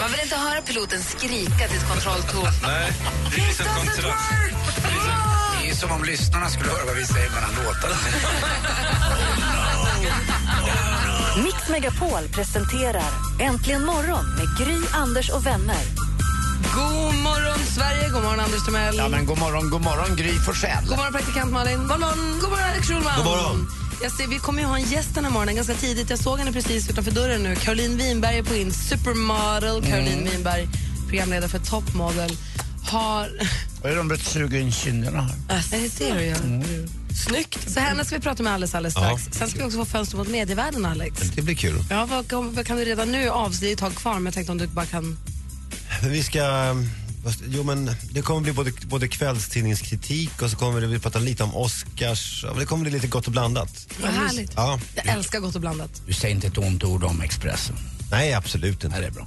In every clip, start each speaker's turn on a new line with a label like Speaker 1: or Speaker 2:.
Speaker 1: Man vill inte höra piloten skrika till ett kontrolltorn.
Speaker 2: Nej, det är liksom kontrast.
Speaker 3: Det är som om lyssnarna skulle höra vad vi säger mellan låtarna.
Speaker 4: Mix Megapol presenterar Äntligen morgon med Gry, Anders och vänner.
Speaker 1: Ah! God morgon, Sverige. God morgon, Anders Timell.
Speaker 3: Ja, men god morgon, god morgon Gry Forssell.
Speaker 1: God morgon, praktikant Malin. God morgon, god morgon Alex Schulman. God morgon. Jag ser, vi kommer ju ha en gäst den här morgonen ganska tidigt. Jag såg henne precis utanför dörren nu. Caroline Winberg är på in. Supermodel Caroline Winberg, programledare för Top Model, har...
Speaker 3: Vad är de blivit suga in kinderna här?
Speaker 1: Är det det du gör? Snyggt. Så henne ska vi prata med alldeles, alldeles strax. Sen ska vi också få fönster mot medievärlden, Alex.
Speaker 5: Det blir kul.
Speaker 1: Ja, vad, kan- vad kan du redan nu avslöja? Det är ett tag kvar, men jag tänkte om du bara kan...
Speaker 5: Men Vi ska... fast- Jo, men det kommer bli både, både kvällstidningskritik och så kommer det, vi prata lite om Oscars. Ja, men Det kommer bli lite gott och blandat.
Speaker 1: Vad härligt.
Speaker 5: Ja.
Speaker 1: Jag älskar gott och blandat.
Speaker 6: Du säger inte ett ont ord om Expressen.
Speaker 5: Nej, absolut inte.
Speaker 6: Nej, det är bra.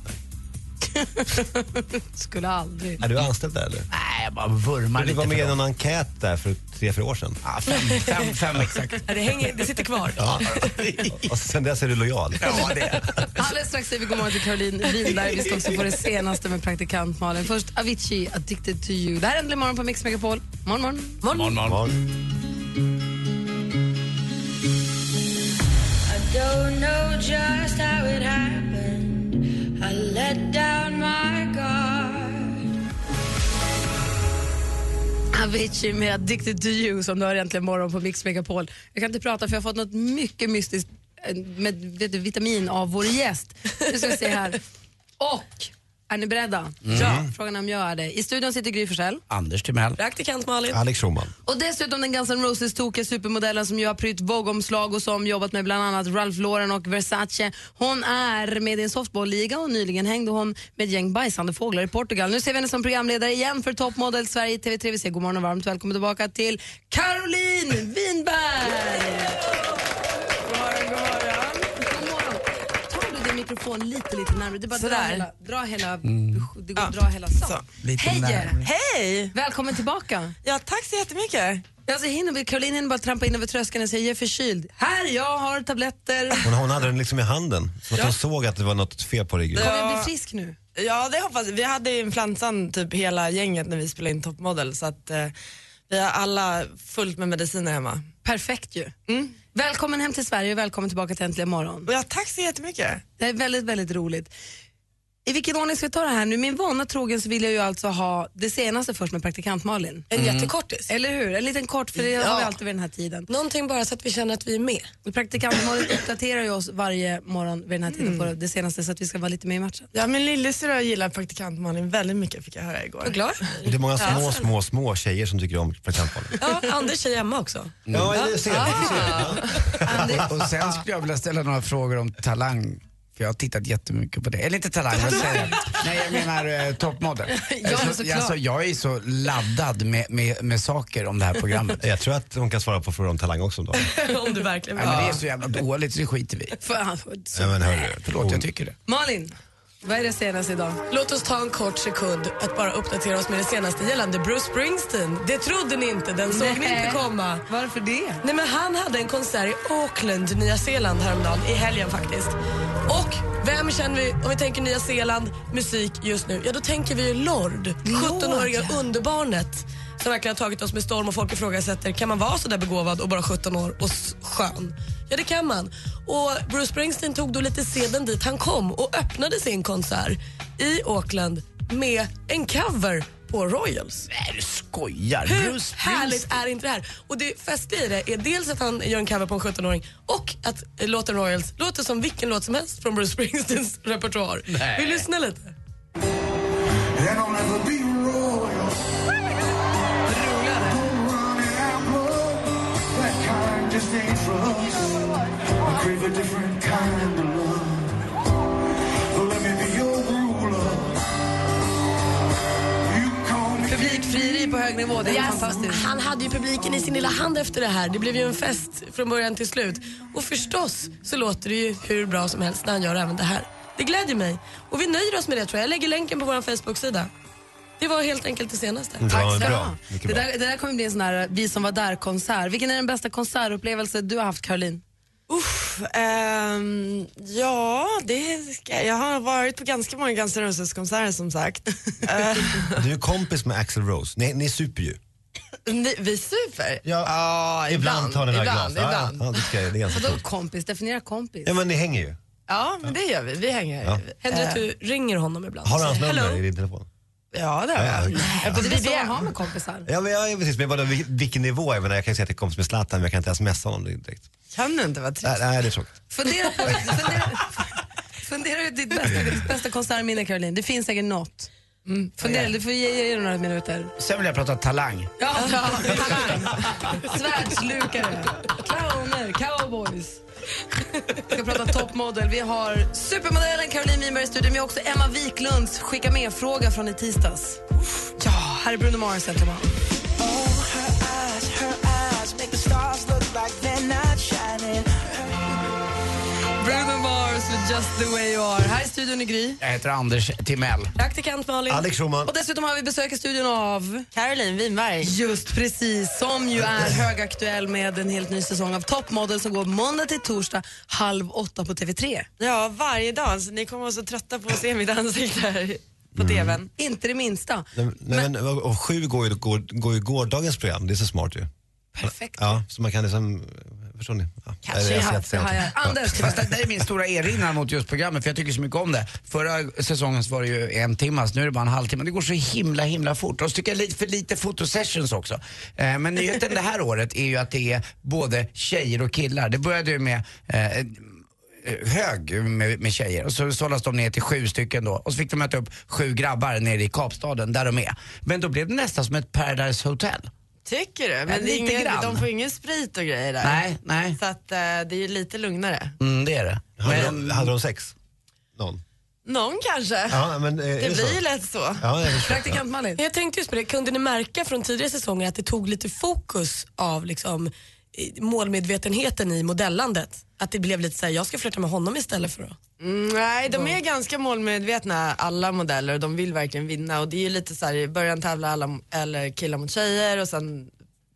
Speaker 1: Skulle aldrig.
Speaker 5: Är du anställd där eller?
Speaker 6: Nej, jag bara vurmar
Speaker 5: Du
Speaker 6: lite
Speaker 5: var med i
Speaker 6: för dem.
Speaker 5: någon enkät där för tre, fyra år sedan.
Speaker 6: Ja, fem, fem, fem exakt.
Speaker 7: Ja, Det, hänger, det sitter kvar.
Speaker 5: Ja. och sen dess är du lojal.
Speaker 6: Ja, det är.
Speaker 1: Alldeles strax säger vi god morgon till Caroline Winberg. Vi ska också få det senaste med praktikant Malin. Först Avicii, Addicted to you. Det här är Äntligen morgon på Mix Megapol. Morgon, morgon.
Speaker 6: Morgon, morgon.
Speaker 5: Morgon.
Speaker 1: Avicii med Addicted to you som du har äntligen morgon på Mix Megapol. Jag kan inte prata för jag har fått något mycket mystiskt eh, med vet du, vitamin av vår gäst. Nu ska vi se här. Och, är ni beredda? Ja. Frågan är om jag är det. I studion sitter Gry Forssell.
Speaker 6: Anders Timell.
Speaker 7: Praktikant Malin.
Speaker 5: Alex Schulman.
Speaker 1: Och dessutom den Guns N' Roses tokiga supermodellen som ju har prytt Vogue-omslag och som jobbat med bland annat Ralph Lauren och Versace. Hon är med i en softballliga och nyligen hängde hon med ett gäng bajsande fåglar i Portugal. Nu ser vi henne som programledare igen för Top Model Sverige i TV3. Vi säger god morgon och varmt välkommen tillbaka till Caroline Winberg! God morgon, god morgon. God morgon. Tar du din mikrofon lite, lite närmare? Det är bara dra
Speaker 7: Sådär.
Speaker 1: hela, dra hela, det går att dra hela stan. Hej!
Speaker 7: Hej!
Speaker 1: Välkommen tillbaka.
Speaker 7: Ja, tack så jättemycket.
Speaker 1: Alltså hinner vi, Caroline hinner bara trampa in över tröskeln och säga jag är förkyld. Här, jag har tabletter.
Speaker 5: Hon, hon hade den liksom i handen. Som att hon såg att det var något fel på dig. Gry.
Speaker 1: Kommer jag bli frisk nu?
Speaker 7: Ja, det hoppas Vi hade ju influensan typ hela gänget när vi spelade in Top Model så att eh, vi har alla fullt med mediciner hemma.
Speaker 1: Perfekt ju.
Speaker 7: Mm.
Speaker 1: Välkommen hem till Sverige och välkommen tillbaka till Äntligen morgon.
Speaker 7: Och ja, tack så jättemycket.
Speaker 1: Det är väldigt, väldigt roligt. I vilken ordning ska vi ta det här nu? Min vana trogen så vill jag ju alltså ha det senaste först med praktikant Malin. Mm.
Speaker 7: En
Speaker 5: Mm.
Speaker 7: jättekortis.
Speaker 1: Eller hur? En liten kort, för det har vi alltid vid den här tiden.
Speaker 7: Någonting bara så att vi känner att vi är med.
Speaker 1: Praktikant Malin uppdaterar ju oss varje morgon vid den här
Speaker 7: Mm.
Speaker 1: tiden på det senaste så att vi ska vara lite med i matchen.
Speaker 7: Ja, min lillasyrra gillar praktikant Malin väldigt mycket fick jag höra igår. Jag glad.
Speaker 5: Och det är många små, små, små tjejer som tycker om Mm. praktikantbarnen.
Speaker 7: Ja, Anders tjej hemma också. Ah.
Speaker 5: Ja, jag ser det.
Speaker 6: Och sen skulle jag vilja ställa några frågor om talang. För jag har tittat jättemycket på det. Eller inte talang, vad säger jag? Nej, jag menar eh, toppmodell.
Speaker 1: men
Speaker 6: Så-
Speaker 1: såklart.
Speaker 6: alltså, jag är så laddad med, med, med saker om det här programmet.
Speaker 5: Jag tror att hon kan svara på frågor om talang också. Då.
Speaker 7: Om du verkligen
Speaker 6: Nej, men det är så jävla dåligt så det skiter vi i.
Speaker 1: För,
Speaker 5: Ja, men hörru,
Speaker 6: Förlåt, jag tycker det.
Speaker 1: Malin, vad är det senaste idag?
Speaker 7: Låt oss ta en kort sekund att bara uppdatera oss med det senaste gällande Bruce Springsteen. Det trodde ni inte, den såg ni
Speaker 1: Nej.
Speaker 7: inte komma.
Speaker 1: Varför det?
Speaker 7: Nej men han hade en konsert i Auckland, Nya Zeeland häromdagen, i helgen faktiskt. Och vem känner vi, om vi tänker Nya Zeeland, musik just nu, ja då tänker vi ju Lord, 17-åriga underbarnet som verkligen har tagit oss med storm och folk ifrågasätter, kan man vara så där begåvad och bara 17 år och s- skön? Ja det kan man. Och Bruce Springsteen tog då lite seden dit han kom och öppnade sin konsert i Auckland med en cover på Royals.
Speaker 6: Nej, du skojar.
Speaker 7: Hur
Speaker 6: Bruce Springsteen.
Speaker 7: härligt är inte det här? Och det festliga i det är dels att han gör en cover på en 17-åring och att eh, låten Royals låter som vilken låt som helst från Bruce Springsteens repertoar.
Speaker 6: Nej.
Speaker 7: Vi lyssnar lite.
Speaker 1: Publikfri frieri på hög nivå. Det är fantastiskt.
Speaker 8: Han hade ju publiken i sin lilla hand efter det här. Det blev ju en fest från början till slut. Och förstås så låter det ju hur bra som helst när han gör även det här. Det glädjer mig. Och vi nöjer oss med det tror jag. Jag lägger länken på vår Facebook-sida. Det var helt enkelt det senaste.
Speaker 5: Mm,
Speaker 7: Mm.
Speaker 5: Det var
Speaker 1: ska du
Speaker 5: bra.
Speaker 1: ha.
Speaker 5: Mycket
Speaker 1: Det
Speaker 5: bra.
Speaker 1: där, det där kommer bli en sån här Vi som var där-konsert. Vilken är den bästa konsertupplevelse du har haft, Caroline?
Speaker 7: Ehm, ja, det ska, jag har varit på ganska många Guns N' Roses-konserter som sagt. Eh,
Speaker 5: Du är kompis med Axel Rose. Ni, ni super ju.
Speaker 7: ni, vi super?
Speaker 5: Ja, ibland tar den här glas. Ja,
Speaker 7: ibland.
Speaker 5: Ja, det, ska, jag- det är ganska
Speaker 1: Vadå
Speaker 5: coolt.
Speaker 1: kompis? Definiera kompis.
Speaker 5: Ja, men ni hänger ju.
Speaker 7: Ja, men det gör vi. Vi hänger.
Speaker 5: Ja.
Speaker 7: Händer
Speaker 8: Händer
Speaker 7: det
Speaker 8: att
Speaker 7: att du-
Speaker 8: du ringer honom ibland?
Speaker 5: Har du hans
Speaker 8: och säger,
Speaker 5: nummer
Speaker 8: "Hello?"
Speaker 5: i din telefon?
Speaker 7: Ja, det har
Speaker 5: Ja,
Speaker 7: jag.
Speaker 5: okej.
Speaker 7: Jag är på
Speaker 1: Det är så man
Speaker 7: DBM.
Speaker 1: har med kompisar.
Speaker 5: Ja, men, ja, ja, precis. Men vadå, vil- vilken nivå? Jag, menar, jag kan ju säga att jag är kompis med Zlatan, men jag kan inte smsa honom direkt.
Speaker 7: Kan du inte vara trist?
Speaker 5: Nej, nej det är tråkigt.
Speaker 1: Fundera på fundera, fundera ut ditt bästa, ditt bästa konsertminne, Caroline. Det finns säkert något. Mm. Fundera, du får ge, ge, ge det några minuter.
Speaker 6: Sen vill jag prata talang.
Speaker 1: Ja, ja. Svärdslukare, clowner, cowboys. Vi ska prata toppmodell. Vi har supermodellen Caroline Winberg i studion, men också Emma Wiklunds skicka med-fråga från i tisdags. Ja, här är Bruno Mars, gentlemen. Bruno Mars med Just the way you are. Här i studion i Gry.
Speaker 6: Jag heter Anders Timell.
Speaker 7: Praktikant Malin.
Speaker 5: Alex Roman.
Speaker 1: Och dessutom har vi besök i studion av
Speaker 7: Caroline Winberg.
Speaker 1: Just precis, som ju är högaktuell med en helt ny säsong av Top Model som går måndag till torsdag halv åtta på TV3.
Speaker 7: Ja, varje dag. Så ni kommer vara så trötta på att se mitt ansikte här på
Speaker 6: Mm.
Speaker 7: tvn.
Speaker 1: Inte det minsta.
Speaker 5: Nej, nej, men, och sju går ju, går, går ju gårdagens program. Det är så smart ju.
Speaker 1: Perfekt.
Speaker 5: Ja, så man kan liksom... Förstår ni? Ja.
Speaker 1: Kanske
Speaker 5: Nej, alltså
Speaker 1: jag
Speaker 5: ser
Speaker 1: har
Speaker 5: inte, ser
Speaker 1: haft
Speaker 5: inte.
Speaker 1: det här. Anders,
Speaker 6: Fast det där är min stora erinran mot just programmet för jag tycker så mycket om det. Förra säsongen så var det ju en timmas, nu är det bara en halvtimme. Det går så himla himla fort. Och så tycker jag lite för lite fotosessions också. Eh, men nyheten det här året är ju att det är både tjejer och killar. Det började ju med eh, hög med, med tjejer och så sållas de ner till sju stycken då och så fick de möta upp sju grabbar nere i Kapstaden där de är. Men då blev det nästan som ett Paradise Hotel.
Speaker 7: Tycker du? Men
Speaker 6: Ja,
Speaker 7: det är
Speaker 6: lite
Speaker 7: ingen,
Speaker 6: grann.
Speaker 7: de får ingen sprit och grejer där.
Speaker 6: Nej, nej.
Speaker 7: Så att, eh, det är ju lite lugnare.
Speaker 6: Mm, det är det.
Speaker 5: Hade,
Speaker 6: Men-
Speaker 5: de, hade de sex? Någon?
Speaker 7: Någon kanske.
Speaker 5: Ja, men, eh, är så?
Speaker 7: det blir ju lätt så.
Speaker 5: Ja, jag förstår.
Speaker 1: Praktikant Malin.
Speaker 8: Jag tänkte just på det, kunde ni märka från tidigare säsonger att det tog lite fokus av liksom, eh, målmedvetenheten i modellandet? Att det blev lite såhär, jag ska flirta med honom istället för att...
Speaker 7: Mm, nej, de är ganska målmedvetna alla modeller och de vill verkligen vinna och det är ju lite så här i början tävlar alla eller killar mot tjejer och sen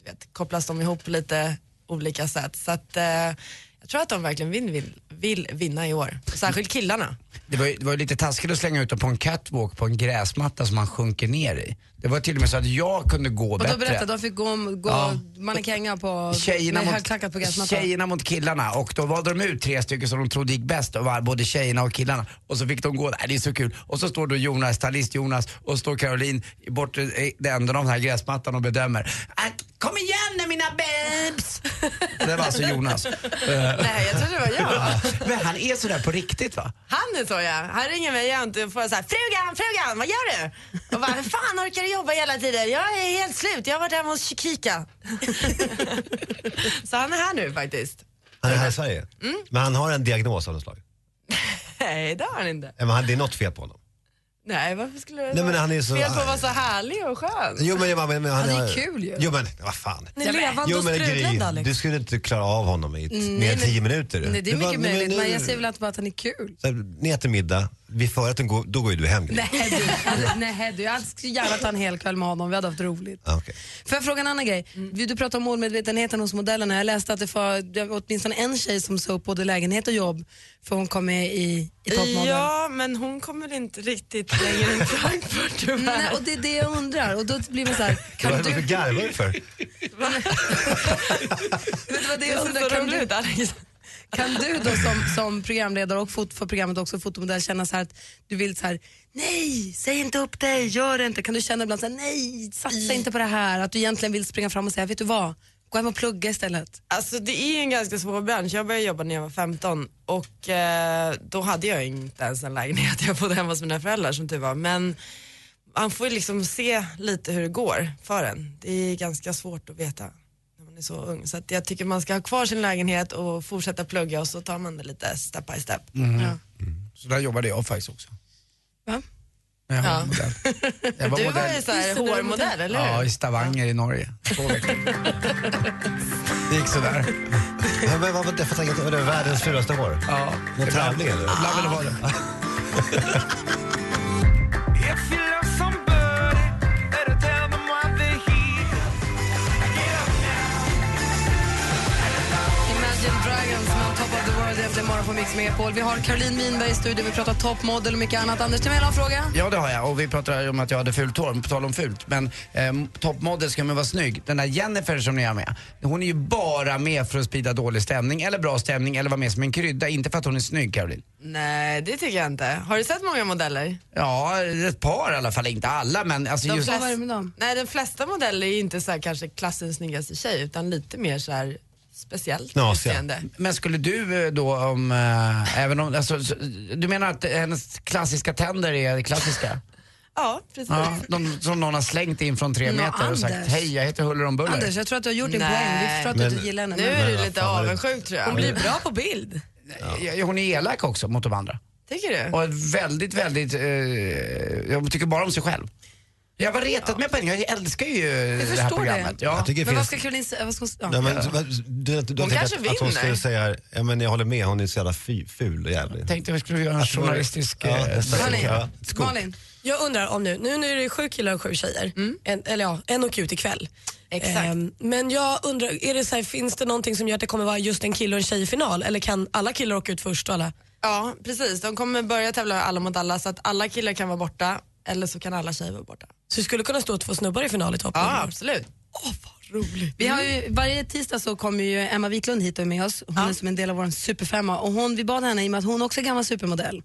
Speaker 7: du vet, kopplas de ihop på lite olika sätt. Så att eh, jag tror att de verkligen vill, vill, vill vinna i år. Särskilt killarna.
Speaker 6: Det var, ju, det var ju lite taskigt att slänga ut dem på en catwalk på en gräsmatta som man sjunker ner i. Det var till och med så att jag kunde gå
Speaker 1: Och då
Speaker 6: bättre.
Speaker 1: berättade de fick gå, om- gå
Speaker 6: Ja.
Speaker 1: mannekänga på
Speaker 6: Tjejerna
Speaker 1: med högklackat på
Speaker 6: mot,
Speaker 1: gräsmattan.
Speaker 6: tjejerna mot killarna och då valde de ut tre stycken som de trodde gick bäst och var både tjejerna och killarna och så fick de gå där, det är så kul. Och så står då Jonas, stylist Jonas och står Caroline i bortre i den änden av den här gräsmattan och bedömer. "Ah, Kom igen nu mina babes! det var alltså Jonas. Eh,
Speaker 7: Nej, jag tror det var jag.
Speaker 6: Men han är sådär på riktigt va?
Speaker 7: Han är så ja. Han ringer mig jämt och får såhär, frugan, frugan, vad gör du? Och bara, hur fan orkar du jobba hela tiden? Jag är helt slut, jag har varit hemma hos Chiquita. så han är här nu faktiskt.
Speaker 5: Han är här i Sverige.
Speaker 1: Mm.
Speaker 5: Men han har en diagnos av något slag.
Speaker 7: Nej, det har han inte.
Speaker 5: Ja, men han- Det är något fel på honom.
Speaker 7: Nej, varför skulle det
Speaker 5: Nej, men han är så-
Speaker 7: Fel på att vara så härlig och skön.
Speaker 5: Jo, men, men, men,
Speaker 1: Han
Speaker 5: han,
Speaker 1: är
Speaker 5: har-
Speaker 1: kul ju.
Speaker 5: Jo, men vad fan.
Speaker 8: Ni är levande
Speaker 5: Jo
Speaker 8: och
Speaker 5: men Gry,
Speaker 8: sprudlande Alex.
Speaker 5: du skulle inte klara av honom i t-
Speaker 1: liksom. Mm, Nej,
Speaker 5: mer än
Speaker 1: men-
Speaker 5: tio minuter.
Speaker 1: Nej, det är
Speaker 5: Du bara,
Speaker 1: mycket
Speaker 5: nej,
Speaker 1: möjligt,
Speaker 5: nu-
Speaker 1: men jag säger väl att, bara att han är kul.
Speaker 5: Så här, Ni äter middag, vid förrätten går, då går ju du hem. Gry.
Speaker 1: Nej du, Alltså, nej, du. jag hade så gärna ta en hel kväll med honom, vi hade haft roligt.
Speaker 5: Ja, okej.
Speaker 1: Får jag fråga en annan grej? Du du pratar om målmedvetenheten hos modellerna. Jag läste att det var det var åtminstone en tjej som sa upp både lägenhet och jobb för hon kom med i, i toppmodell.
Speaker 7: Ja, men hon kommer inte riktigt längre än Frankfurt
Speaker 1: Nej, och
Speaker 7: tyvärr.
Speaker 1: det är det jag undrar. Och då blir man så här, kan
Speaker 5: Vad
Speaker 1: du...
Speaker 5: varför garvar du för?
Speaker 1: Men det var det
Speaker 7: Det
Speaker 1: jag
Speaker 7: är
Speaker 1: undrar.
Speaker 7: så
Speaker 1: Kan du,
Speaker 7: roligt Alex.
Speaker 1: kan du då som, som programledare och fot, för programmet också fotomodell känna så här att du vill så här, nej, säg inte upp dig, gör det inte. Kan du känna ibland så här, nej, satsa inte på det här. Att du egentligen vill springa fram och säga, vet du vad, gå hem och plugga istället.
Speaker 7: Alltså det är en ganska svår bransch. Jag började jobba när jag var 15 och eh, då hade jag inte ens en lägenhet. Jag bodde hemma hos mina föräldrar som tur var. Men man får ju liksom se lite hur det går för en. Det är ganska svårt att veta när man är så ung. Så att jag tycker man ska ha kvar sin lägenhet och fortsätta plugga och så tar man det lite step by step.
Speaker 1: Ja.
Speaker 6: Så där jobbade jag faktiskt också.
Speaker 1: Va?
Speaker 6: Jag var
Speaker 7: Ja.
Speaker 6: modell.
Speaker 7: Du var ju så här hårmodell, eller hur?
Speaker 6: Ja, i Stavanger i Norge. Två veckor. Det gick sådär.
Speaker 5: Men vad var det för tanke? Var det världens fulaste hår?
Speaker 6: Ja.
Speaker 5: Någon tävling eller?
Speaker 6: Ibland vill du ha det.
Speaker 1: Imagine Dragons med On Top of the World efter morgon på Mix Megapol. Vi har Caroline Winberg i studion, vi pratar toppmodell och mycket annat. Anders Timell har en fråga.
Speaker 6: Ja, det har jag. Och vi pratade ju om att jag hade fult hår, på tal om fult. Men eh, toppmodell ska man vara snygg. Den där Jennifer som ni har med, hon är ju bara med för att sprida dålig stämning eller bra stämning eller vara med som en krydda. Inte för att hon är snygg, Caroline.
Speaker 7: Nej, det tycker jag inte. Har du sett många modeller?
Speaker 6: Ja, ett par i alla fall. Inte alla, men alltså just...
Speaker 7: Nej, den flesta modeller är ju inte så här kanske klassens snyggaste tjej utan lite mer så här speciellt utseende.
Speaker 6: Men skulle du eh, då om, eh, även om, alltså, s- du menar att hennes klassiska tänder är klassiska?
Speaker 7: Ja, precis.
Speaker 6: ja, de, som någon har slängt in från tre
Speaker 7: Nå,
Speaker 6: meter och sagt
Speaker 7: Anders.
Speaker 6: hej jag heter Huller om Buller.
Speaker 1: Anders, jag tror att du har gjort din
Speaker 7: Nej.
Speaker 1: poäng. Vi förstår att du
Speaker 6: Men-
Speaker 1: inte gillar henne.
Speaker 6: Nu är du Men lite vad fan var det? avundsjuk, tror jag.
Speaker 1: Hon blir bra på bild.
Speaker 6: Ja, Hon är elak också mot de andra.
Speaker 7: Tycker du?
Speaker 6: Och väldigt, väldigt, eh, jag tycker bara om sig själv. Jag var retat med på henne, jag älskar ju det här programmet. Ja.
Speaker 5: Jag tycker det
Speaker 1: men vad
Speaker 5: finns-
Speaker 1: ska Caroline säga? Vad ska hon säga?
Speaker 5: Nej, men, du, du, du,
Speaker 1: Hon
Speaker 5: tänkte
Speaker 1: kanske
Speaker 5: att, att hon
Speaker 1: vinner.
Speaker 5: skulle säga, ja, men jag håller med, hon är så jävla fy, ful och jävlig.
Speaker 6: Tänkte vi skulle göra en journalistisk... eh,
Speaker 5: Ja, nästan. Ja, skog.
Speaker 8: Malin. Jag undrar om nu, nu är det sju killar och sju tjejer, en, eller ja, en åker ut ikväll.
Speaker 7: Mm. Exakt.
Speaker 8: Ehm, men jag undrar, är det så här, finns det någonting som gör att det kommer vara just en kille och en tjej i final? Eller kan alla killar åka ut först och alla?
Speaker 7: Ja, precis. De kommer börja tävla alla mot alla så att alla killar kan vara borta eller så kan alla tjejer vara borta.
Speaker 8: Så det skulle kunna stå två snubbar i final i toppen?
Speaker 7: Ja, absolut. Roligt.
Speaker 1: Vi har ju, varje tisdag så kommer ju Emma Wiklund hit och är med oss. Hon är som en del av vår superfemma och hon, vi bad henne i och med att hon också är gammal supermodell.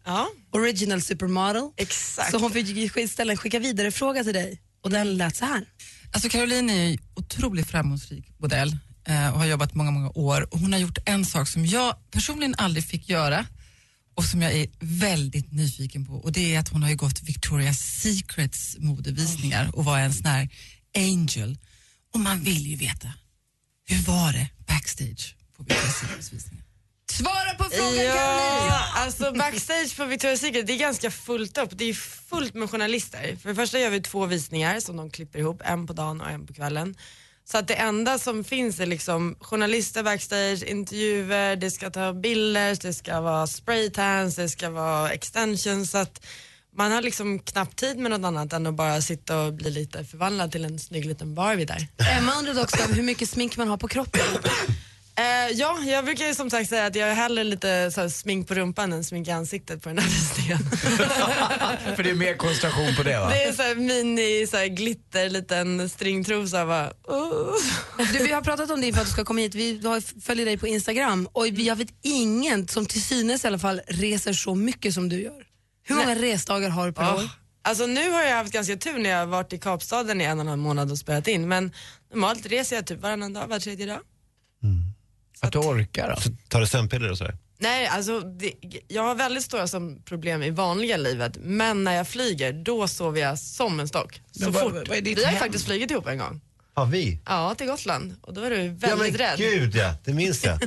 Speaker 1: Original supermodel. Exakt. Så hon fick ställa en skicka vidare fråga till dig och den lät så här.
Speaker 9: Alltså Caroline är ju otroligt framgångsrik modell eh, och har jobbat många, många år. Och hon har gjort en sak som jag personligen aldrig fick göra och som jag är väldigt nyfiken på och det är att hon har ju gått Victoria's Secrets modevisningar och var en sån här angel. Och man vill ju veta, hur var det backstage på Victoria's Secrets visningar? Svara på frågan
Speaker 7: ja,
Speaker 9: Caroline!
Speaker 7: Alltså backstage på Victoria's Secret, det är ganska fullt upp. Det är fullt med journalister. För det första gör vi två visningar som de klipper ihop, en på dagen och en på kvällen. Så att det enda som finns är liksom journalister backstage, intervjuer, det ska ta bilder, det ska vara spraytans, det ska vara extensions. Så att man har liksom knappt tid med något annat än att bara sitta och bli lite förvandlad till en snygg liten Barbie där.
Speaker 1: Emma undrade också hur mycket smink man har på kroppen.
Speaker 7: Eh, ja, jag brukar ju som sagt säga att jag är hellre lite så här, smink på rumpan än smink i ansiktet på den här visningen.
Speaker 6: För det är mer koncentration på det va?
Speaker 7: Det är så här mini så här, glitter, liten stringtrosa bara. Oh.
Speaker 1: Du, vi har pratat om det inför att du ska komma hit. Vi har- följer dig på Instagram och vi- jag vet ingen som till synes i alla fall reser så mycket som du gör. Hur många resdagar har du per
Speaker 9: Ah.
Speaker 7: Ja.
Speaker 1: år?
Speaker 7: Alltså nu har jag haft ganska tur när jag har varit i Kapstaden i en och en halv månad och spelat in men normalt reser jag typ varannan dag, var tredje dag.
Speaker 6: Att du orkar alltså. då?
Speaker 5: Tar du sömnpiller och sådär?
Speaker 7: Nej, alltså det, jag har väldigt stora som problem i vanliga livet men när jag flyger då sover jag som en stock. Så
Speaker 5: Men vad-
Speaker 7: fort.
Speaker 5: vad är ditt
Speaker 7: Vi har ju
Speaker 5: hem?
Speaker 7: faktiskt flugit ihop en gång.
Speaker 5: Har vi?
Speaker 7: Ja, till Gotland. Och då var du väldigt
Speaker 5: ja, men
Speaker 7: rädd.
Speaker 5: gud ja, det minns jag.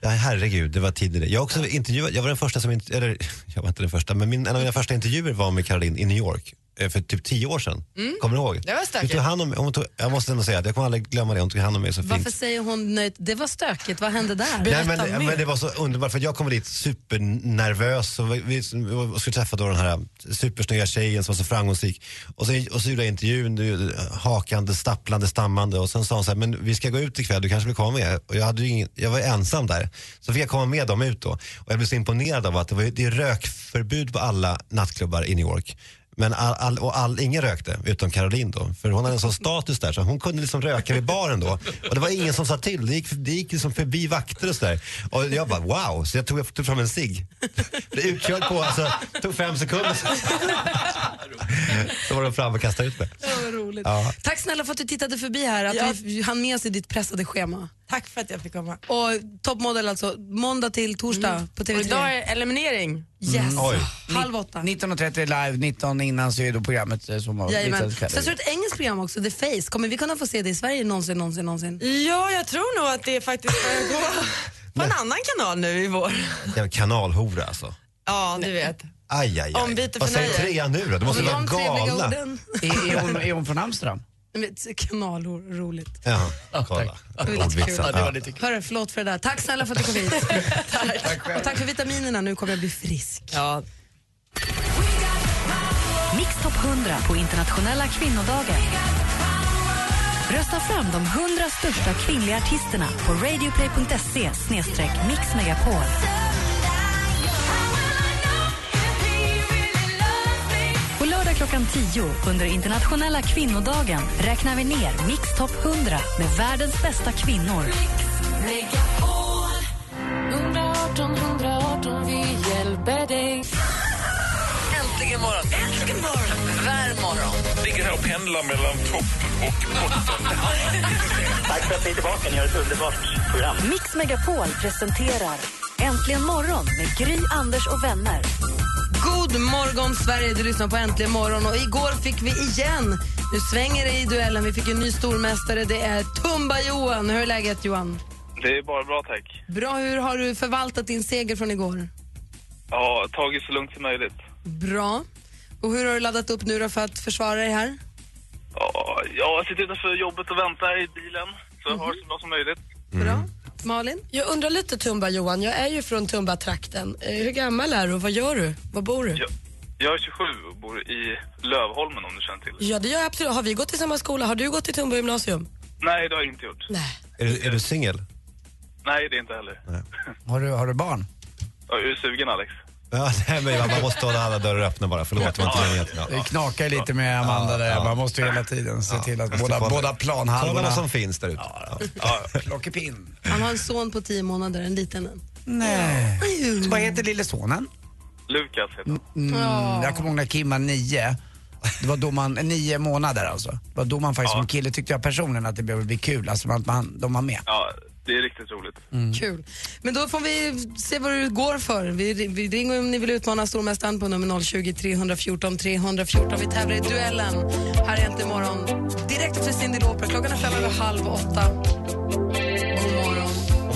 Speaker 5: Ja, herregud, det var tidigare. Jag, har också intervjuat, jag var den första som, int- eller jag var inte den första, men min, en av mina första intervjuer var med Caroline i New York eh, för typ tio år sedan. Kommer du ihåg?
Speaker 1: Mm. Det var stökigt.
Speaker 5: Hon tog hand om, hon tog, jag måste ändå säga att jag kommer aldrig glömma det, hon tog hand om mig så fint.
Speaker 1: Varför säger hon nöjt? Det var stökigt, vad hände där?
Speaker 5: Nej, men, men det var så underbart för jag kom dit supernervös och vi, vi skulle träffa då den här supersnygga tjejen som var så framgångsrik. Och, så och så gjorde jag intervjun, du- hakande, stapplande, stammande och sen sa hon så här, men vi ska gå ut ikväll, du kanske vill komma med? Och jag, hade ju ingen, jag var ensam där. Så fick jag komma med dem ut då. Och jag blev så imponerad av att det, var, ju- det är rökförbud på alla nattklubbar i New York. Men all, all, och all, ingen rökte, utom Caroline då. För hon hade en sån status där så hon kunde liksom röka vid baren då. Och det var ingen som sa till. Det gick, det gick liksom förbi vakter och sådär. Och jag bara wow, så jag tog, jag tog fram en cigg. Blev utkörd på, alltså, tog fem sekunder. Så var de framme och kastade ut mig.
Speaker 1: Ja, vad roligt.
Speaker 5: Ja.
Speaker 1: Tack snälla för att du tittade förbi här, att
Speaker 7: Ja.
Speaker 1: vi hann med oss i ditt pressade schema.
Speaker 7: Tack för att jag fick komma.
Speaker 1: Och toppmodell alltså, måndag till torsdag på TV3.
Speaker 7: Och idag är eliminering.
Speaker 1: Yes.
Speaker 6: Mm, oj.
Speaker 1: Halv åtta.
Speaker 6: 19.30 live, 19 innan så är då programmet eh, som var
Speaker 1: Jajamän.
Speaker 6: visades
Speaker 1: Sen så är det ett engelskt program också, The Face. Kommer vi kunna få se det i Sverige någonsin, någonsin, någonsin?
Speaker 7: Ja, jag tror nog att det faktiskt börjar gå på en annan kanal nu i vår.
Speaker 5: Jävla kanalhora alltså.
Speaker 7: Ja, du vet.
Speaker 5: Aj, aj, aj.
Speaker 1: Ombyte
Speaker 5: Vad
Speaker 1: för
Speaker 5: säger
Speaker 1: nöje.
Speaker 5: trean nu då? Du måste
Speaker 1: Och
Speaker 5: vara
Speaker 1: de trevliga
Speaker 5: galna.
Speaker 1: orden.
Speaker 6: Är, är, hon, är hon från Amsterdam?
Speaker 1: Nej, men t- Kanalor, roligt.
Speaker 5: Ja, kolla.
Speaker 1: Det var lite kul.
Speaker 5: Ordvitsen. Ja.
Speaker 1: Hörru, förlåt för det där. Tack snälla för att du kom hit. tack. Och tack för vitaminerna, nu kommer jag bli frisk.
Speaker 7: Ja.
Speaker 4: Mix Top 100 på internationella kvinnodagen. Rösta fram de 100 största kvinnliga artisterna på radioplay.se mixmegapol. På lördag klockan 10 under internationella kvinnodagen räknar vi ner Mix Top 100 med världens bästa kvinnor.
Speaker 10: Äntligen morgon. Äntligen morgon. Vär morgon.
Speaker 2: Ligger här och pendlar mellan topp och botten.
Speaker 10: Tack för att ni är tillbaka. Ni har ett underbart program.
Speaker 4: Mix Megapol presenterar Äntligen morgon med Gry, Anders och vänner.
Speaker 1: God morgon, Sverige. Du lyssnar på Äntligen morgon. Och igår fick vi igen. Nu svänger det i duellen. Vi fick en ny stormästare. Det är Tumba-Johan. Hur är läget, Johan?
Speaker 11: Det är bara bra, tack.
Speaker 1: Bra. Hur har du förvaltat din seger från igår?
Speaker 11: Ja, tagit så lugnt som möjligt.
Speaker 1: Bra. Och hur har du laddat upp nu då för att försvara dig här?
Speaker 11: Ja, jag har suttit utanför jobbet och väntar i bilen, så jag har det så bra som möjligt.
Speaker 1: Malin?
Speaker 8: Jag undrar lite Tumba Johan, jag är ju från Tumba-trakten. Eh, Hur gammal är du och vad gör du? Var bor du?
Speaker 11: Jag, jag är 27 och bor i Lövholmen om du känner till det.
Speaker 8: Ja det gör jag absolut. Har vi gått i samma skola? Har du gått i Tumba gymnasium?
Speaker 11: Nej, det har jag inte gjort.
Speaker 8: Nej.
Speaker 5: Är du, är du singel?
Speaker 11: Nej, det är inte heller.
Speaker 6: Har du, har du barn?
Speaker 11: Jag är du sugen, Alex?
Speaker 5: Ja, nej, men man måste hålla alla dörrar öppna bara. Förlåt, det var inte meningen. Ja.
Speaker 6: Det knakar lite med Amanda där. Man måste ju hela tiden se till att båda,
Speaker 5: kolla-
Speaker 6: båda planhalvorna...
Speaker 5: Kolla vad som finns där ute.
Speaker 6: Ja, Plockepinn.
Speaker 1: Han har en son på tio månader, en liten en.
Speaker 6: Nej. Så Vad heter lille sonen?
Speaker 11: Lukas heter han.
Speaker 6: Mm,
Speaker 1: Ja.
Speaker 6: Jag kommer ihåg när Kim var nio. Det var då man, nio månader alltså. Det var då man faktiskt som kille tyckte jag personligen att det behöver bli kul, alltså att man, de var med.
Speaker 11: Ja, det är riktigt roligt.
Speaker 1: Kul. Mm. Men då får vi se vad du går för. Vi, vi ringer om ni vill utmana stormästaren på nummer 020 314 314. Vi tävlar i duellen. Här är Äntligen morgon. Direkt efter Cyndi Lauper. Klockan är fem över halv åtta.
Speaker 5: God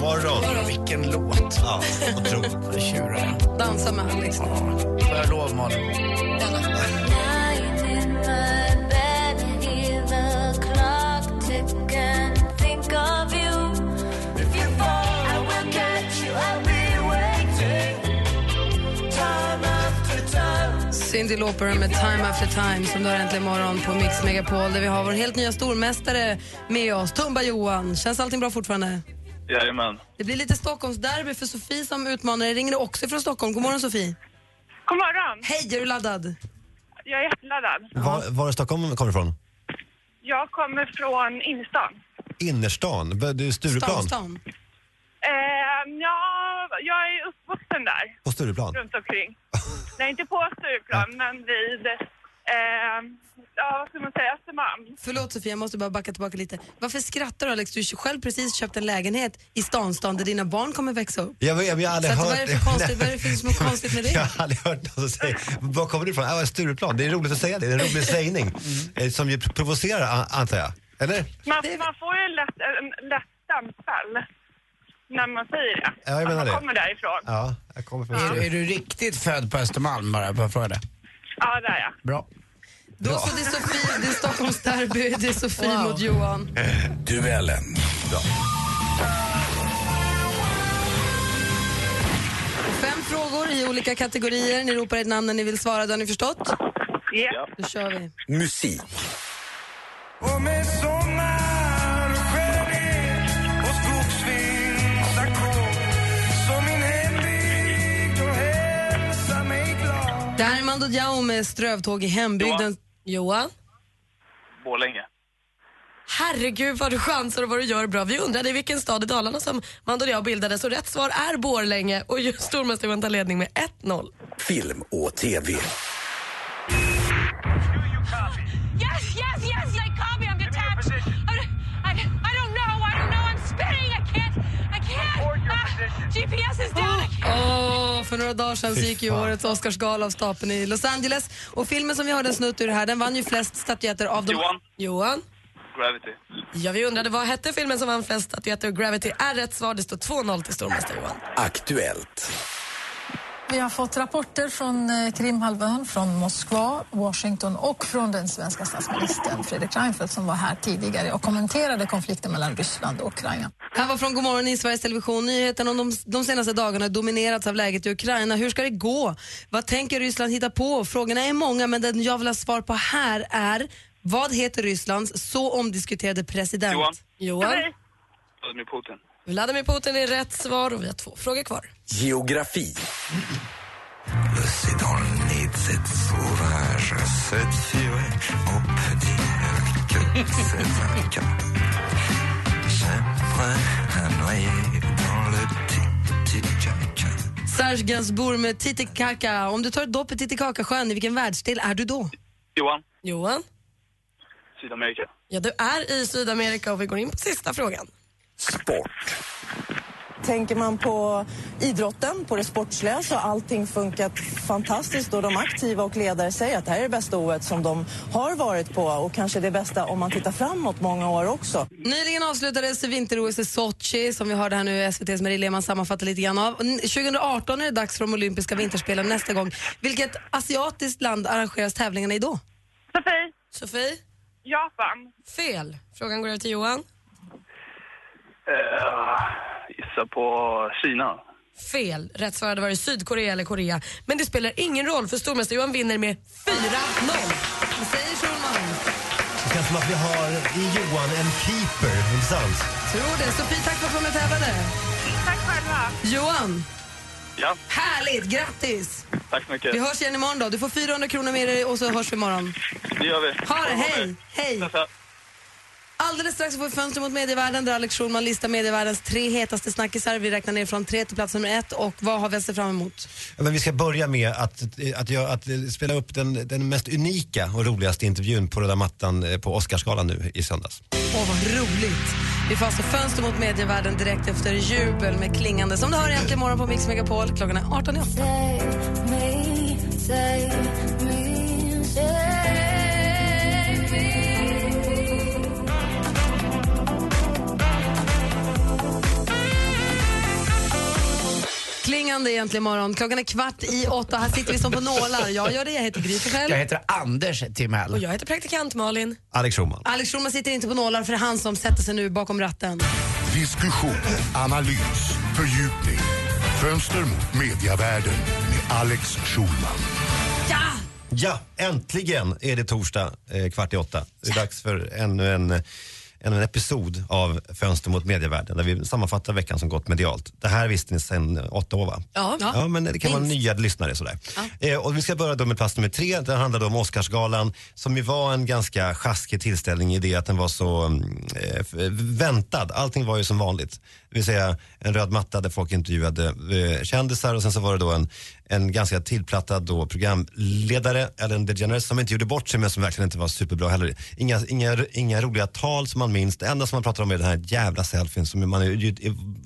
Speaker 5: morgon.
Speaker 6: Vilken låt.
Speaker 5: Ja, otroligt.
Speaker 6: Vad tjurar
Speaker 1: Dansa med Alex.
Speaker 6: jag. Får jag lov Malin?
Speaker 1: Cyndi Lauper med Time After Time som du har Äntligen morgon på Mix Megapol där vi har vår helt nya stormästare med oss, Tumba-Johan. Känns allting bra fortfarande?
Speaker 11: Jajamän.
Speaker 1: Det blir lite Stockholmsderby för Sofie som utmanare ringer också från Stockholm. God morgon Sofie.
Speaker 12: God morgon.
Speaker 1: Hej, är du laddad?
Speaker 12: Jag är jätteladdad.
Speaker 5: Var, var i Stockholm kommer du ifrån?
Speaker 12: Jag kommer från innerstan.
Speaker 5: Innerstan? B- Du är Stureplan?
Speaker 1: Stan.
Speaker 12: Eh, ja, jag är uppvuxen där.
Speaker 5: På Stureplan?
Speaker 12: Runt omkring. Nej, inte på Stureplan, men vid... Eh, ja, vad ska man säga? Östermalm.
Speaker 1: Förlåt Sofia, jag måste bara backa tillbaka lite. Varför skrattar du Alex? Du har själv precis köpt en lägenhet i stanstan där dina barn kommer växa upp.
Speaker 5: Jag, vet- jag, jag har aldrig
Speaker 1: Så att
Speaker 5: hört...
Speaker 1: vad är det för konstigt- vad är det för som är konstigt med det?
Speaker 5: Jag har aldrig hört någon som säger, var kommer du ifrån? Jag är Stureplan. Det är roligt att säga det. Det är en rolig sägning.
Speaker 1: Mm.
Speaker 5: eh, Som ju provocerar, a- antar jag. Eller?
Speaker 12: Man, man får ju lätt, en lätt stämpel när man säger det.
Speaker 6: Ja, jag menar
Speaker 12: Att
Speaker 6: det.
Speaker 12: man kommer därifrån. Ja,
Speaker 5: Ja, jag kommer från
Speaker 6: Är, du- är du riktigt född på Östermalm bara? Bara fråga det.
Speaker 12: det är jag.
Speaker 6: Bra.
Speaker 1: Då så, det är Sofie, det är Stockholmsderby, det är Sofie mot Johan.
Speaker 6: Duellen.
Speaker 1: Fem frågor i olika kategorier. Ni ropar ett namn när ni vill svara, det har ni förstått?
Speaker 12: Ja.
Speaker 1: Då kör vi.
Speaker 13: Musik.
Speaker 1: Diamond och Jao med strövtåg i hembygden.
Speaker 8: Johan?
Speaker 11: Borlänge.
Speaker 8: Herregud vad du chansar och vad du gör bra. Vi undrade i vilken stad i Dalarna som Mando och jag bildades och rätt svar är Borlänge och just stormästare Johan tar ledning med 1-0.
Speaker 13: Film och TV.
Speaker 2: Yes, yes, yes, they call me. I'm detached. I, I, I don't know. I don't know. I'm spinning. I can't. I can't. Ah, GPS is down. I can't.
Speaker 1: Åh, för några dagar sedan så
Speaker 2: Fy
Speaker 1: gick ju
Speaker 2: fan.
Speaker 1: årets Oscarsgala av stapeln i Los Angeles. Och filmen som vi hörde en snutt ur här, den vann ju flest statyetter av de...
Speaker 11: Johan.
Speaker 8: Johan?
Speaker 11: Gravity.
Speaker 8: Ja, vi undrade vad hette filmen som vann flest statyetter och Gravity är rätt svar. Det står 2-0 till stormästare Johan.
Speaker 13: Aktuellt.
Speaker 14: Vi har fått rapporter från eh, Krimhalvön, från Moskva, Washington och från den svenska statsministern Fredrik Reinfeldt som var här tidigare och kommenterade konflikten mellan Ryssland och Ukraina.
Speaker 1: Det här var från Godmorgon i Sveriges Television. Nyheterna om de, de senaste dagarna har dominerats av läget i Ukraina. Hur ska det gå? Vad tänker Ryssland hitta på? Frågorna är många, men den jag vill ha svar på här är vad heter Rysslands så omdiskuterade president?
Speaker 11: Johan.
Speaker 1: Johan.
Speaker 11: Vladimir Putin.
Speaker 8: Vladimir Putin är rätt svar och vi har två frågor kvar.
Speaker 13: Geografi.
Speaker 1: Serge Gainsbourg med Titicaca. Om du tar ett dopp i Titicacasjön, i vilken världsdel är du då?
Speaker 11: Johan.
Speaker 8: Johan,
Speaker 11: Sydamerika.
Speaker 8: ja, du är i Sydamerika och vi går in på sista frågan.
Speaker 13: Sport.
Speaker 15: Tänker man på idrotten, på det sportsliga, så har allting funkat fantastiskt och de aktiva och ledare säger att det här är det bästa OS som de har varit på och kanske det bästa om man tittar framåt många år också.
Speaker 1: Nyligen avslutades vinter-OS i Sochi som vi hörde här nu SVTs Marie Lehmann sammanfattar lite grann av. N- 2018 är det dags för de olympiska vinterspelen nästa gång. Vilket asiatiskt land arrangeras tävlingarna i då?
Speaker 12: Sofie.
Speaker 8: Sofie?
Speaker 12: Japan.
Speaker 8: Fel. Frågan går över till Johan.
Speaker 11: Eh, gissa på Kina.
Speaker 8: Fel. Rätt svar hade varit Sydkorea eller Korea. Men det spelar ingen roll för stormästare Johan vinner med 4-0.
Speaker 1: Vad säger Schulman?
Speaker 5: Det känns som att vi har i Johan en keeper, inte sant?
Speaker 1: Tror det. Sofie, tack för att du var med och tävlade.
Speaker 12: Tack själva.
Speaker 1: Johan,
Speaker 11: Ja,
Speaker 1: härligt! Grattis!
Speaker 11: tack så mycket.
Speaker 1: Vi hörs igen imorgon då. Du får 400 kronor med dig och så hörs vi imorgon.
Speaker 11: Det gör vi.
Speaker 1: Ha det, hej! Hej! Alldeles strax får vi Fönster mot medievärlden där Alex Schulman listar medievärldens tre hetaste snackisar. Vi räknar ner från tre till plats nummer ett och vad har vi att se fram emot?
Speaker 5: Ja, Men vi ska börja med att, att, jag, att spela upp den, den mest unika och roligaste intervjun på röda mattan eh, på Oscarsgalan nu i söndags.
Speaker 1: Åh, vad roligt! Vi får alltså Fönster mot medievärlden direkt efter jubel med klingande som du hör egentligen imorgon på Mix Megapol. Klockan är 18 i Klingande egentligen imorgon. Klockan är kvart i åtta. Här sitter vi som på nålar. Jag gör det, jag heter Gry
Speaker 6: Jag
Speaker 1: Forssell.
Speaker 6: heter Anders Timell.
Speaker 8: Och jag heter praktikant Malin.
Speaker 5: Alex Schulman.
Speaker 1: Alex Schulman sitter inte på nålar för det är han som sätter sig nu bakom ratten.
Speaker 16: Diskussion, analys, fördjupning. Fönster mot mediavärlden med Alex Schulman.
Speaker 1: Ja!
Speaker 5: Ja, äntligen är det torsdag eh, kvart i åtta. Det är dags för ännu en, ännu en episod av Fönster mot medievärlden där vi sammanfattar veckan som gått medialt. Det här visste ni sedan eh, åtta år va?
Speaker 1: Ja.
Speaker 5: ja men det kan vara
Speaker 1: Minst.
Speaker 5: nya lyssnare sådär. Eh, och vi ska börja då med plats nummer tre. Den handlade om Oscarsgalan som ju var en ganska sjaskig tillställning i det att den var så mm, eh, f- väntad. Allting var ju som vanligt. Det vill säga en röd matta där folk intervjuade eh, kändisar och sen så var det då en, en ganska tillplattad då programledare, Ellen DeGeneres, som inte gjorde bort sig men som verkligen inte var superbra heller. Inga, inga, inga roliga tal som man minns. Det enda som man pratar om är den här jävla selfien som man är, ju-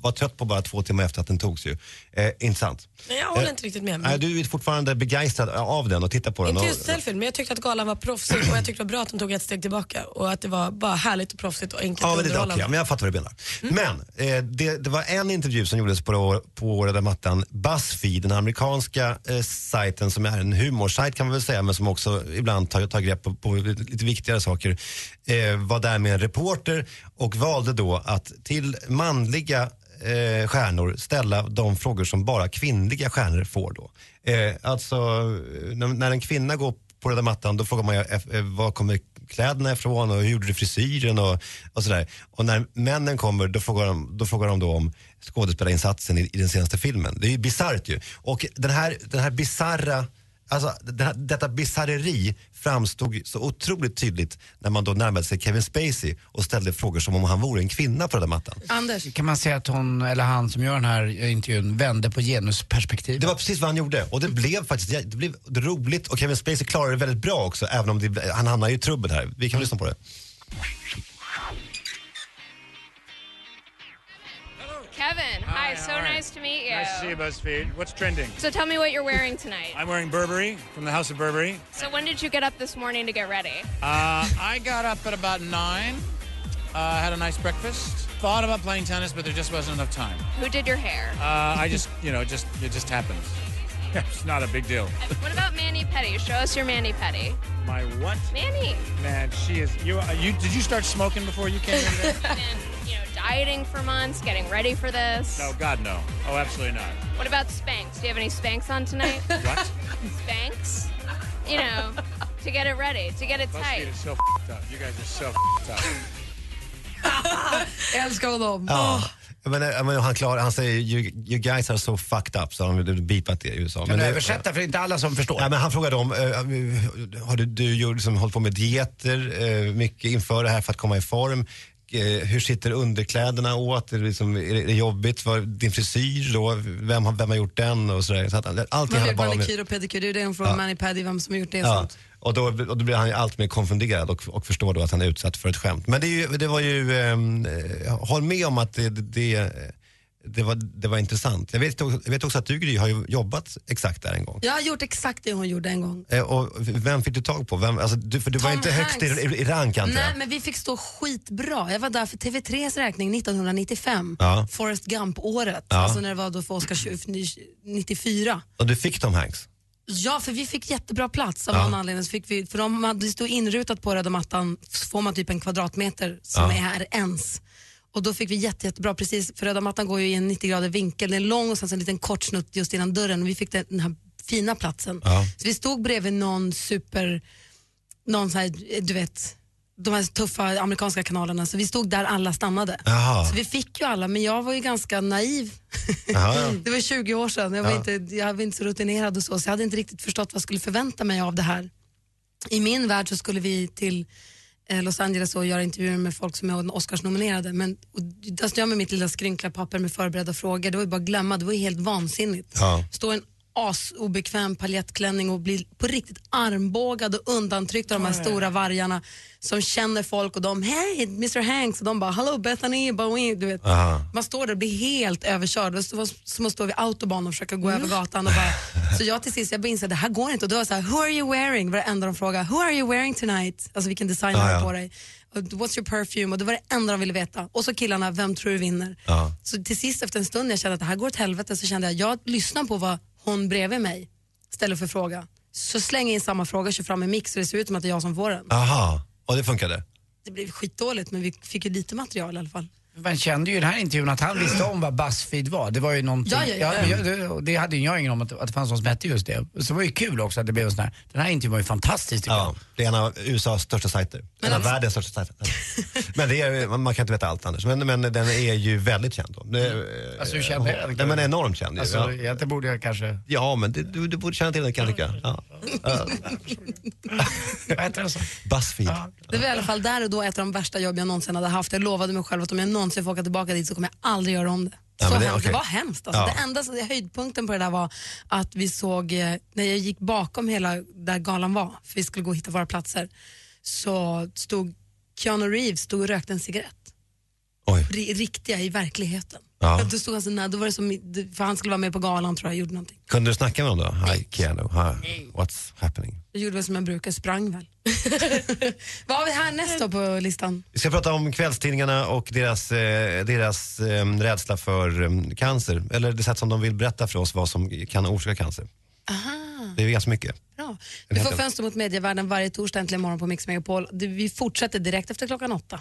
Speaker 5: var trött på bara två timmar efter att den togs ju. Eh, intressant.
Speaker 8: Nej, jag håller
Speaker 5: Eh,
Speaker 8: inte riktigt med.
Speaker 5: Nej,
Speaker 8: Mig.
Speaker 5: du är fortfarande begeistrad av den och tittar på den.
Speaker 8: Inte
Speaker 5: Och,
Speaker 8: just selfien, men jag tyckte att galan var proffsig och jag tyckte det var bra att de tog ett steg tillbaka och att det var bara härligt och proffsigt och enkelt
Speaker 5: ja,
Speaker 8: och
Speaker 5: men det är okej.
Speaker 8: underhållande. Mm.
Speaker 5: men jag fattar vad du menar. Men eh, det, det var en intervju som gjordes på, på röda mattan. Buzzfeed, den amerikanska eh, sajten som är en humorsajt kan man väl säga, men som också ibland tar, tar grepp på, på lite viktigare saker, eh, var där med en reporter och valde då att till manliga eh, stjärnor ställa de frågor som bara kvinnliga stjärnor får då. Eh, alltså, eh, när, när en kvinna går på röda mattan då frågar man ju eh, eh, var kommer kläderna ifrån och hur gjorde du frisyren och, och sådär. Och när männen kommer då frågar de då, frågar de då om skådespelarinsatsen i, i den senaste filmen. Det är ju bisarrt ju. Och den här, den här bisarra Alltså, det här, detta bisarreri framstod så otroligt tydligt när man då närmade sig Kevin Spacey och ställde frågor som om han vore en kvinna på röda mattan.
Speaker 1: Anders.
Speaker 6: Kan man säga att hon, eller han som gör den här eh, intervjun, vände på genusperspektivet?
Speaker 5: Det var precis vad han gjorde och det blev faktiskt jä- det blev roligt och Kevin Spacey klarade det väldigt bra också även om det, han hamnar ju i trubbel här. Vi
Speaker 6: Mm.
Speaker 5: kan lyssna på det.
Speaker 17: Kevin, hi, so nice to meet you.
Speaker 18: Nice to see you, BuzzFeed. What's trending?
Speaker 17: So tell me what you're wearing tonight.
Speaker 18: I'm wearing Burberry from the House of Burberry.
Speaker 17: So when did you get up this morning to get ready?
Speaker 18: Uh, I got up at about nine. Uh, had a nice breakfast. Thought about playing tennis, but there just wasn't enough time.
Speaker 17: Who did your hair?
Speaker 18: Uh, I just, you know, just it just happened.
Speaker 19: it's not a big deal.
Speaker 17: What about Manny Petty? Show us your Manny Petty.
Speaker 19: My what?
Speaker 17: Manny,
Speaker 19: Man, she is. You, uh, you did you start smoking before you came in?
Speaker 17: you've been, you know, dieting for months, getting ready for this.
Speaker 19: No, God, no. Oh, absolutely not.
Speaker 17: What about Spanx? Do you have any Spanx on tonight?
Speaker 19: What?
Speaker 17: Spanx? You know, to get it ready, to get it tight.
Speaker 19: BuzzFeed is so f***ed up. You guys are so f***ed up.
Speaker 1: Älskar honom.
Speaker 5: Ja. Men, eh, men han, klar, han säger you, you guys are so fucked up, så har de beepat det i USA.
Speaker 6: Kan du översätta? För det är inte alla som förstår.
Speaker 5: Nej, men han frågade om, eh, har du, du gjort- liksom, hållit på med dieter eh, mycket inför det här för att komma i form? Eh, hur sitter underkläderna åt? Är det, liksom, är det, är det jobbigt? Var, din frisyr då? Vem har, vem har gjort den? Och sådär. Så att, han- allting
Speaker 1: Man
Speaker 5: handlar
Speaker 1: vet
Speaker 5: bara om...
Speaker 1: manikyr och pedikyr, det är ju den från
Speaker 5: Ja.
Speaker 1: Manny Paddy, vem som har gjort det.
Speaker 5: Ja.
Speaker 1: sånt.
Speaker 5: Och, då, och då blir han ju allt mer konfunderad och, och förstår då att han är utsatt för ett skämt. Men det, är ju, det var ju, ehm, eh, håll med om att det, det, det, det, var, det var intressant. Jag vet, också- jag vet också att du Gry har ju jobbat exakt där en gång.
Speaker 1: Jag har gjort exakt det hon gjorde en gång.
Speaker 5: Eh, Och vem fick du tag på? Vem, alltså, du, för du var
Speaker 1: Tom
Speaker 5: inte högst i,
Speaker 1: Hanks.
Speaker 5: i rank antar
Speaker 1: Nej,
Speaker 5: jag?
Speaker 1: men vi fick stå skitbra. Jag var där för TV3s räkning 1995,
Speaker 5: Ja.
Speaker 1: Forrest Gump-året,
Speaker 5: Ja.
Speaker 1: alltså när det var då för Oscar 94.
Speaker 5: Och du fick Tom Hanks?
Speaker 1: Ja, för vi fick jättebra plats av
Speaker 5: Ja.
Speaker 1: någon anledning. Så fick vi, för de hade stod inrutat på röda mattan, så får man typ en kvadratmeter som
Speaker 20: Ja.
Speaker 1: är här ens. Och då fick vi jätte, jättebra, precis, för röda mattan går ju i en 90 grader vinkel, den är lång och sen så en liten kort snutt just innan dörren och vi fick den här fina platsen.
Speaker 20: Ja.
Speaker 1: Så vi stod bredvid någon super, någon så här, du vet, de här tuffa amerikanska kanalerna, så vi stod där alla stannade.
Speaker 20: Jaha.
Speaker 1: Så vi fick ju alla, men jag var ju ganska naiv
Speaker 20: Jaha, ja.
Speaker 1: det var 20 år sedan. Jag var,
Speaker 20: Ja.
Speaker 1: inte, jag var inte så rutinerad och så, så jag hade inte riktigt förstått vad jag skulle förvänta mig av det här. I min värld så skulle vi till eh, Los Angeles och göra intervjuer med folk som är Oscarsnominerade. Men och där stod jag med mitt lilla skrynkliga papper med förberedda frågor. Det var ju bara att glömma, det var ju helt vansinnigt.
Speaker 20: Ja.
Speaker 1: Stå i en asobekväm paljettklänning och bli på riktigt armbågad och undantryckt av de här
Speaker 20: Oj.
Speaker 1: stora vargarna som känner folk och de, hej Mr Hanks och de bara, hello Bethany, Bowie, du vet.
Speaker 20: Aha.
Speaker 1: Man står där och blir helt överkörd. Det var som att stå vid autobahn och försöka gå över gatan. Och bara, så jag till sist jag bara insåg att det här går inte. Och då var det så här, who are you wearing? var det enda de frågade. Who are you wearing tonight? Alltså vilken design
Speaker 20: Ja,
Speaker 1: har du
Speaker 20: ja.
Speaker 1: på dig? Och, What's your perfume? Och det var det enda de ville veta. Och så killarna, vem tror du vinner?
Speaker 20: Ja.
Speaker 1: Så till sist efter en stund när jag kände att det här går åt helvete så kände jag, jag lyssnar på vad hon bredvid mig ställer för fråga. Så slänger jag in samma fråga, kör fram en mix så det ser ut som att det är jag som får den.
Speaker 5: Aha, och det funkade?
Speaker 1: Det blev skitdåligt men vi fick ju lite material i alla fall.
Speaker 6: Man kände ju i den här intervjun att han visste om vad Buzzfeed var. Det var ju någonting...
Speaker 1: Ja, ja, ja.
Speaker 6: men jag- det, det hade ju jag ingen om att, att det fanns någon som hette just det. Så det var ju kul också att det blev en sån här... Den här intervjun var ju fantastisk tycker jag.
Speaker 5: Det är en av USAs största sajter. En av världens största sajter. Men det är, man man kan inte veta allt Anders, men, men den är ju väldigt känd. Då. Det, eh,
Speaker 6: Alltså hur känd är den?
Speaker 5: den? Men enormt känd. ju.
Speaker 6: Alltså,
Speaker 5: ja.
Speaker 6: ja. det borde jag kanske...
Speaker 5: ja, men det, du, du borde känna till den kan jag tycka. Ja. Ja.
Speaker 6: Vad heter den så?
Speaker 5: Buzzfeed.
Speaker 1: Det var i alla fall där och då ett av de värsta jobb jag någonsin hade haft. Jag lovade mig själv att om jag någonsin får åka tillbaka dit så kommer jag aldrig göra om det.
Speaker 20: Ja,
Speaker 1: så
Speaker 20: men det-
Speaker 1: hemskt.
Speaker 20: okej.
Speaker 1: Det var hemskt. Alltså.
Speaker 20: Ja.
Speaker 1: Det enda som- höjdpunkten på det där var att vi såg, eh, när jag gick bakom hela där galan var, för vi skulle gå och hitta våra platser, så stod Keanu Reeves stod och rökte en cigarett. Ri- Riktiga i verkligheten.
Speaker 5: Ja.
Speaker 1: Ja. Då stod han så nära, då var det som, för han skulle vara med på galan tror jag, gjorde någonting.
Speaker 5: Kunde du snacka med honom då? Hi Keanu, hi. what's happening?
Speaker 1: Jag gjorde väl som jag brukar, sprang väl. Vad har vi här nästa på listan?
Speaker 5: Vi ska prata om kvällstidningarna och deras, eh, deras eh, rädsla för eh, cancer. Eller det sätt som de vill berätta för oss vad som kan orsaka cancer.
Speaker 1: Aha.
Speaker 5: Det är ganska mycket.
Speaker 1: Bra. Du får fönster mot medievärlden varje torsdag äntligen morgon på Mix Megapol. Du, Vi fortsätter direkt efter klockan åtta.